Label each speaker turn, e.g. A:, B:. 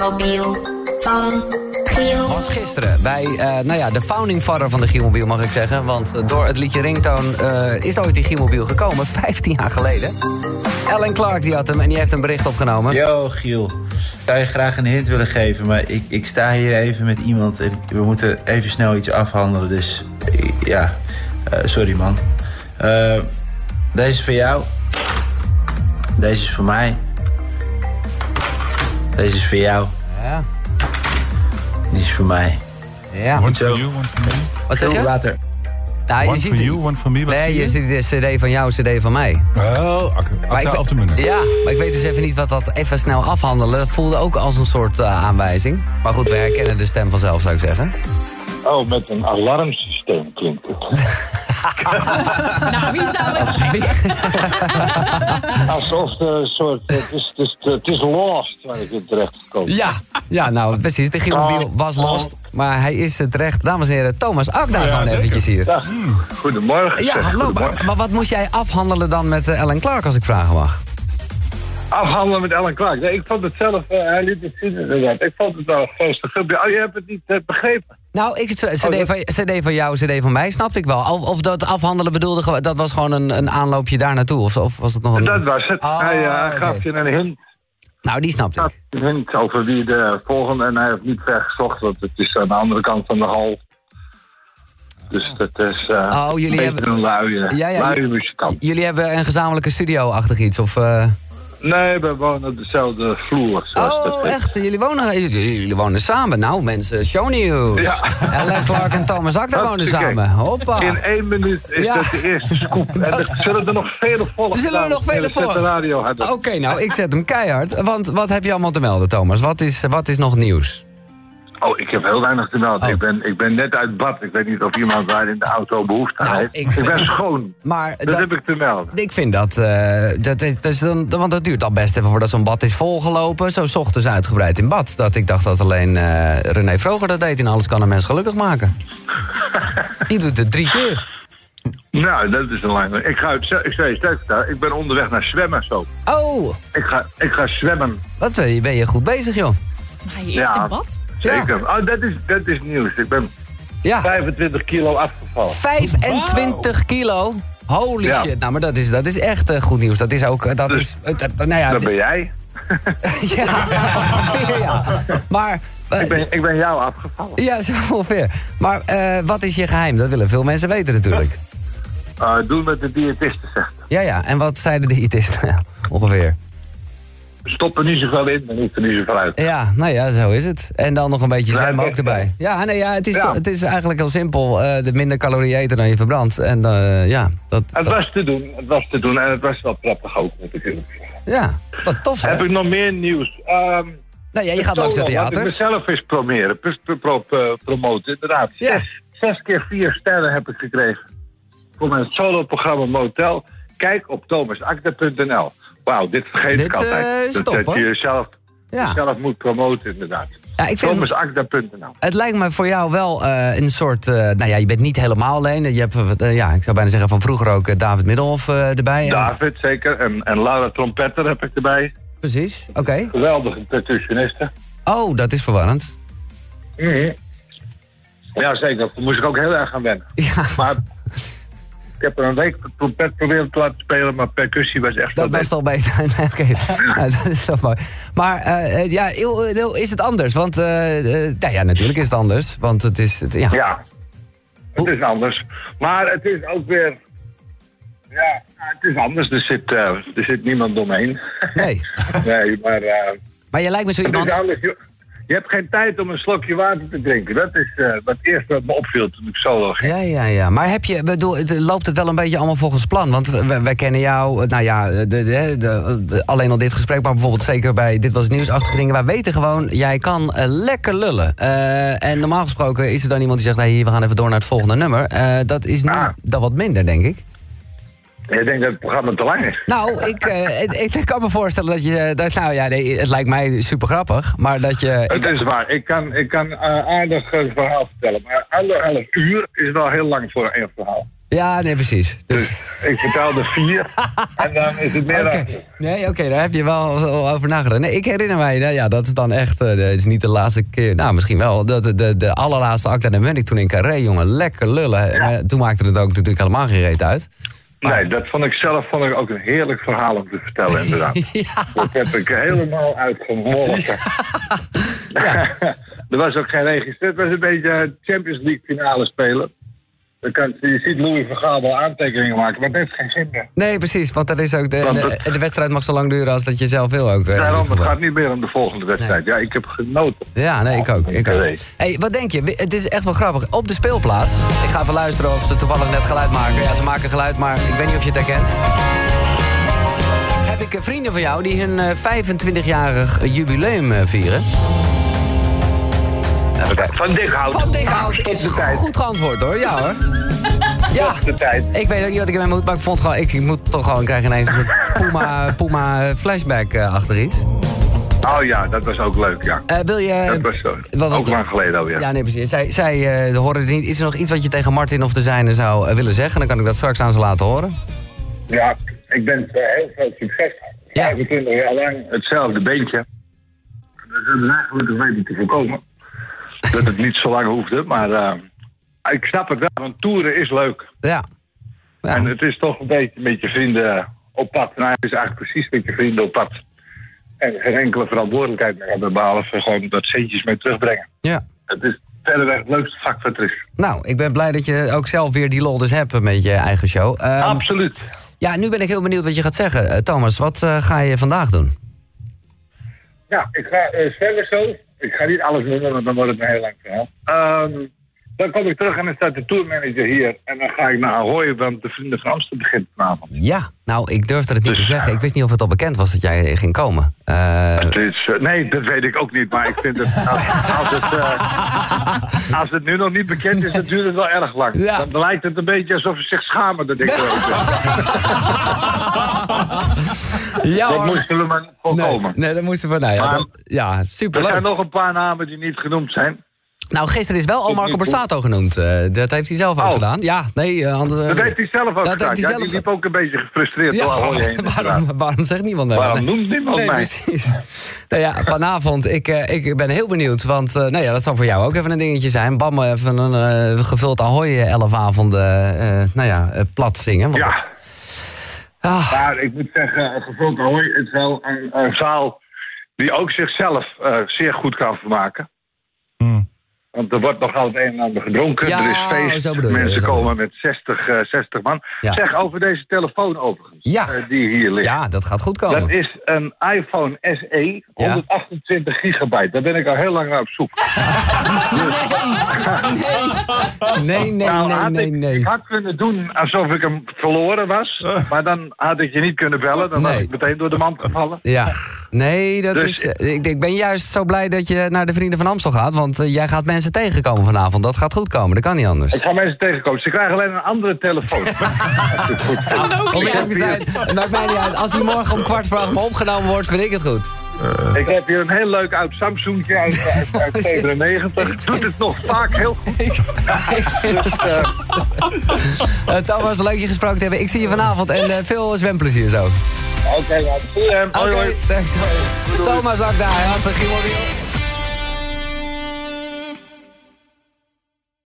A: Gielmobiel van Giel.
B: Was gisteren bij eh, nou ja, de founding father van de Gielmobiel, mag ik zeggen. Want eh, door het liedje Ringtoon eh, is ooit die Gielmobiel gekomen, 15 jaar geleden. Alan Clark die had hem en die heeft een bericht opgenomen.
C: Yo, Giel. Ik zou je graag een hint willen geven, maar ik, ik sta hier even met iemand en we moeten even snel iets afhandelen. Dus eh, ja, Eh, sorry man. Eh, deze is voor jou. Deze is voor mij. Deze is voor jou.
B: Ja,
C: Die is voor mij.
B: ja.
D: One for
C: Zo.
D: you, one for me.
B: Wat zeg
C: Veel
B: je?
C: later.
B: Nou, je
D: One
B: ziet
D: for
B: het-
D: you, one for me. Wat
B: Nee,
D: zie
B: je
D: je?
B: ziet de cd van jou, cd van mij.
D: Oh, Acta
B: ik
D: Acta
B: weet-
D: op de munten.
B: Ja, maar ik weet dus even niet wat dat even snel afhandelen voelde ook als een soort eh, aanwijzing. Maar goed, we herkennen de stem vanzelf, zou ik zeggen.
E: Oh, met een alarmsysteem klinkt het.
F: Nou, wie zou het zijn?
E: Alsof er een soort. Het is, het is, het is lost waar ik in terecht gekomen ben.
B: Ja, ja nou precies. De
D: Oh.
B: Gimmobiel was lost, maar hij is terecht. Dames en heren, Thomas Akda
D: Ja,
B: gewoon
D: zeker.
B: eventjes hier.
E: Dag. Goedemorgen.
B: Ja,
E: zeg.
B: hallo. Maar,
E: Goedemorgen.
B: maar wat moest jij afhandelen dan met eh, Ellen Clark, als ik vragen mag?
E: Afhandelen met Ellen Clark. Nee, ik vond het zelf. eh, hij liet het zien inderdaad. Ik vond het wel een grootste filmpje. Oh, je hebt het niet eh, begrepen.
B: Nou, ik, c- cd, van, cd van jou, cd van mij, snapte ik wel. Of, of dat afhandelen bedoelde, ge- dat was gewoon een, een aanloopje daar naartoe. Of, of was het nog een...
E: Dat was het.
B: Ah,
E: hij eh, hij gaf
B: oké.
E: je een hint.
B: Nou, die snapte
E: gaf
B: ik.
E: je Een hint over wie de volgende. En hij heeft niet ver gezocht, want het is aan de andere kant van de hal. Dus dat is. eh,
B: Oh, jullie
E: een beetje
B: hebben-
E: Een luie,
B: Ja, ja,
E: luie
B: j-
E: muzikant.
B: Jullie hebben een gezamenlijke studio-achtig iets, of... eh,
E: Nee, we wonen op dezelfde vloer. Zoals dat
B: Oh,
E: heet.
B: echt? Jullie wonen, jullie jullie wonen samen? Nou, mensen, show news.
E: Ja.
B: Ellen Clark en Thomas Akda wonen
E: Hartstikke.
B: samen. Hoppa.
E: In één minuut is
B: Ja.
E: dat de eerste scoop. En er zullen er nog vele volgen.
B: Er zullen er nog vele
E: voor. de
B: volgen.
E: radio
B: Oké,
E: hebben.
B: nou, ik zet hem keihard. Want wat heb je allemaal te melden, Thomas? Wat is, wat is nog nieuws?
E: Oh, ik heb heel weinig te melden.
B: Oh.
E: Ik, ben, ik ben net uit bad. Ik weet niet of iemand daar in de auto behoefte aan
B: Nou,
E: heeft.
B: ik-
E: Ik, ben schoon.
B: Maar
E: Dat
B: dat-
E: heb ik te melden.
B: ik vind dat, eh, dat, is, dat is dan, want dat duurt al best even voordat zo'n bad is volgelopen. Zo 's ochtends uitgebreid in bad. Dat ik dacht dat alleen eh, René Vroger dat deed. In alles kan een mens gelukkig maken. Die doet het drie keer.
E: Nou, dat is een lange. Ik ga het ze- ik zei je steeds vertellen. Ik ben onderweg naar zwemmen zo.
B: Oh,
E: Ik ga, ik ga zwemmen.
B: wat ben je, ben je goed bezig, joh.
F: Ga je eerst
E: Ja.
F: in bad?
E: Zeker. Oh, dat is, dat is nieuws. Ik ben
B: Ja.
E: 25 kilo afgevallen.
B: 25 kilo. Holy
E: Ja.
B: shit. Nou, maar dat is, dat is echt eh, goed nieuws. Dat is ook. eh, Dat
E: Dus,
B: is, eh, dat- nou ja,
E: Dat ben jij.
B: ja, ongeveer, ja. Maar. eh,
E: Ik ben, ik ben jou afgevallen.
B: ja, zo ongeveer. Maar eh, wat is je geheim? Dat willen veel mensen weten natuurlijk.
E: Eh, doe wat de diëtiste zegt.
B: Ja, ja. En wat zei de diëtisten? Ja, ongeveer.
E: Stop er niet zoveel in en niet er niet zoveel uit.
B: Ja, nou ja, zo is het. En dan nog een beetje
E: Ja,
B: zwemmen
E: dat
B: ook
E: is
B: erbij.
E: het.
B: Ja, nee, ja, het, is,
E: Ja.
B: het is eigenlijk heel simpel. Eh, de minder calorieën eten dan je verbrandt. En eh, ja, dat,
E: Het
B: dat-
E: was te doen, het was te doen en het was wel prettig ook moet ik eerlijk zeggen.
B: ja, wat tof zeg.
E: Heb ik nog meer nieuws? Ehm,
B: Nou ja, je gaat
E: Tola,
B: langs de
E: Laat ik
B: theaters.
E: mezelf eens promeren, pr- pr- pro- pro- promoten, inderdaad.
B: Ja.
E: Zes, zes keer vier sterren heb ik gekregen. Voor mijn solo-programma Motel. Kijk op thomasakda.nl. Wauw, dit vergeet
B: Dit,
E: ik altijd.
B: eh, is
E: dat
B: top,
E: dat
B: hoor.
E: je jezelf,
B: Ja.
E: zelf moet promoten, inderdaad.
B: Ja, ik vind-
E: Thomasakda.nl.
B: Het lijkt me voor jou wel eh, een soort... eh, nou ja, je bent niet helemaal alleen. Je hebt, eh, wat, eh, ja, ik zou bijna zeggen van vroeger ook eh, David Middelhoff eh, erbij. En-
E: David, zeker. En, en Laura Trompetter heb ik erbij.
B: Precies, oké.
E: Geweldige percussioniste.
B: Oh, dat is verwarrend.
E: Mhm. Ja, zeker. Daar moest ik ook heel erg aan wennen.
B: Ja,
E: Maar ik heb er een week trompet proberen te laten spelen, maar percussie was echt
B: dat
E: wel
B: was al beter. Nee, oké. Ja, dat is toch mooi. Maar eh, eh, ja, heel- heel- is het anders? Want, eh, eh, nou ja, natuurlijk is het anders. Want het is... Het, ja.
E: Ja, het is anders. Maar het is ook weer... Ja, het is anders. Er zit, eh, er zit niemand omheen.
B: Nee.
E: nee, maar eh,
B: Maar je lijkt me zo
E: het is
B: iemand...
E: anders. Je, je hebt geen tijd om een slokje water te drinken. Dat is eh, wat eerst wat me opviel toen ik solo ging.
B: Ja, ja, ja. Maar heb je, bedoel, het, eh, loopt het wel een beetje allemaal volgens plan? Want we- we- wij kennen jou, eh, nou ja, de, de, de- de- alleen al dit gesprek, maar bijvoorbeeld zeker bij Dit Was het Nieuwsachtige Dingen. Wij weten gewoon, jij kan eh, lekker lullen. Eh, en normaal gesproken is er dan iemand die zegt, hey, we gaan even door naar het volgende nummer. Eh, dat is nu
E: Ah.
B: dan wat minder, denk ik.
E: En Je denkt dat het programma te lang is.
B: Nou, ik, eh, ik, ik kan me voorstellen dat je, dat, nou ja, nee, het lijkt mij super grappig, maar dat je... ik-
E: Het is waar. Ik kan, ik kan eh, aardig een verhaal vertellen. Maar anderhalf uur is wel heel lang voor één verhaal.
B: Ja, nee, precies. Dus,
E: Dus ik betaalde vier en dan is het meer
B: oké.
E: dan...
B: Nee, oké, daar heb je wel wel over nagedacht. Nee, ik herinner mij, nou ja, dat is dan echt, eh, het is niet de laatste keer, nou misschien wel, de, de, de, de allerlaatste acte. En dan ben ik toen in Carré, jongen, lekker lullen. Maar toen maakte het ook natuurlijk helemaal geen reet uit. Ah.
E: Nee, dat vond ik zelf vond ik ook een heerlijk verhaal om te vertellen, inderdaad. Dat heb ik helemaal uitgemolken. er was ook geen registreerd. Het was een beetje eh, Champions League finale spelen. Dan kan, je ziet Louis van Gaal wel aantekeningen maken, maar dat heeft geen zin meer.
B: Nee, precies, want dat is ook de,
E: Want
B: de,
E: het-
B: de wedstrijd mag zo lang duren als dat je zelf wil ook. eh, in
E: Daarom,
B: dit
E: het
B: geval.
E: gaat niet meer om de volgende wedstrijd. Ja, ik heb genoten.
B: Ja, nee, ik ook. Ik ook.
E: Nee.
B: Hey, wat denk je? We- Het is echt wel grappig. Op de speelplaats, ik ga even luisteren of ze toevallig net geluid maken. Ja, ze maken geluid, maar ik weet niet of je het herkent. Heb ik eh, vrienden van jou die hun eh, 25-jarig jubileum eh, vieren? Even kijken.
E: Van Dikhout.
B: Van Dikhout is
E: de tijd.
B: goed geantwoord hoor. Ja hoor. Ja.
E: De tijd.
B: Ik weet ook niet wat ik ermee moet, maar ik vond gewoon, ik, ik moet toch gewoon krijgen ineens een soort Puma, Puma flashback eh, achter iets.
E: Oh ja, dat was ook leuk, ja.
B: Eh, wil je...
E: Dat was zo.
B: Wat- wat-
E: Ook lang geleden alweer.
B: Ja, nee, precies. Zij, zij eh, horen er niet. Is er nog iets wat je tegen Martin of de zijne zou eh, willen zeggen? Dan kan ik dat straks aan ze laten horen.
E: Ja, ik ben eh, heel veel succes.
B: Ja.
E: 25 jaar lang hetzelfde beentje. We zijn er eigenlijk een beetje te voorkomen. Dat het niet zo lang hoefde, maar eh, ik snap het wel, want toeren is leuk.
B: Ja. Ja.
E: En het is toch een beetje met je vrienden op pad. Nou, het is eigenlijk precies met je vrienden op pad. En geen enkele verantwoordelijkheid meer hebben, behalve gewoon dat centjes mee terugbrengen.
B: ja.
E: Het is verreweg het leukste vak wat er is.
B: Nou, ik ben blij dat je ook zelf weer die lol dus hebt met je eigen show. Ehm,
E: Absoluut.
B: ja, nu ben ik heel benieuwd wat je gaat zeggen. Eh, Thomas, wat eh, ga je vandaag doen?
E: Ja, ik ga eh, verder zo. Ik ga niet alles noemen, want dan wordt het een heel lang verhaal. Ehm, dan kom ik terug en dan staat de tourmanager hier. En dan ga ik naar Ahoy, want de Vrienden van Amsterdam begint vanavond.
B: Ja. Nou, ik durfde het niet
E: Dus-
B: te zeggen. Ik wist niet of het al bekend was dat jij eh, ging komen. Eh,
E: Het is, eh, nee, dat weet ik ook niet. Maar ik vind het, als, als het, eh, als het nu nog niet bekend is, dan duurt het wel erg lang.
B: Ja.
E: Dan lijkt het een beetje alsof ze zich schamen dat ik er ook ben.
B: ja
E: Dat
B: hoor.
E: moesten we maar
B: Nee,
E: voorkomen.
B: nee, dat moesten we. Nou ja,
E: Maar-
B: dat- ja
E: Er zijn
B: superleuk.
E: nog een paar namen die niet genoemd zijn.
B: Nou, gisteren is wel al Marco Borsato genoemd. Eh, dat heeft hij zelf ook
E: Oh.
B: gedaan. Ja, nee. eh, anders, eh,
E: Dat heeft hij zelf ook
B: dat
E: gedaan.
B: heeft
E: Ja,
B: hij
E: die
B: zelf
E: liep ook een beetje gefrustreerd door Ahoy heen. inderdaad.
B: waarom, waarom zegt niemand nou dat?
E: Waarom
B: Nee.
E: noemt niemand
B: Nee,
E: mij?
B: precies. nou ja, vanavond, ik, eh, ik ben heel benieuwd. Want eh, nou ja, dat zal voor jou ook even een dingetje zijn. Bam, even een eh, gevuld ahoy eh, elf avonden eh, nou ja, eh, plat zingen. Want-
E: Ja,
B: Ah,
E: maar ik moet zeggen, eh, gevuld Ahoy is wel een, een zaal die ook zichzelf eh, zeer goed kan vermaken. Want er wordt nogal het een en ander gedronken,
B: Mm. Ja,
E: er is feest,
B: zo bedoel je,
E: mensen
B: zo
E: komen met 60, eh, 60 man.
B: Ja.
E: Zeg over deze telefoon overigens,
B: Ja.
E: eh, die hier ligt.
B: ja, dat gaat goed
E: Dat
B: komen.
E: is een iPhone SE,
B: Ja.
E: 128 gigabyte. Daar ben ik al heel lang naar op zoek.
B: Nee, nee,
E: Nou,
B: nee,
E: had
B: nee,
E: ik,
B: nee.
E: ik had kunnen doen alsof ik hem verloren was. Maar dan had ik je niet kunnen bellen. Dan was
B: Nee.
E: ik meteen door de mand gevallen.
B: Ja, nee, dat
E: Dus-
B: is. eh, Ik, ik ben juist zo blij dat je naar de Vrienden van Amstel gaat. Want eh, jij gaat mensen tegenkomen vanavond. Dat gaat goed komen, dat kan niet anders.
E: Ik ga mensen tegenkomen. Ze krijgen alleen een andere telefoon. Als het goed is.
B: Om eerlijk te zijn, het maakt mij niet uit. Als hij morgen om kwart voor acht me opgenomen wordt, vind ik het goed.
E: ik heb hier een heel leuk oud Samsungje uit, uit, uit 97. Doet het nog vaak heel goed.
B: Eh, Thomas, leuk je gesproken te hebben. Ik zie je vanavond en eh, veel zwemplezier zo.
E: Oké, nou, zie je hem.
B: Oké,
E: Hoi, hoi.
B: thanks. Thomas ook daar, hè, want er ging wel weer-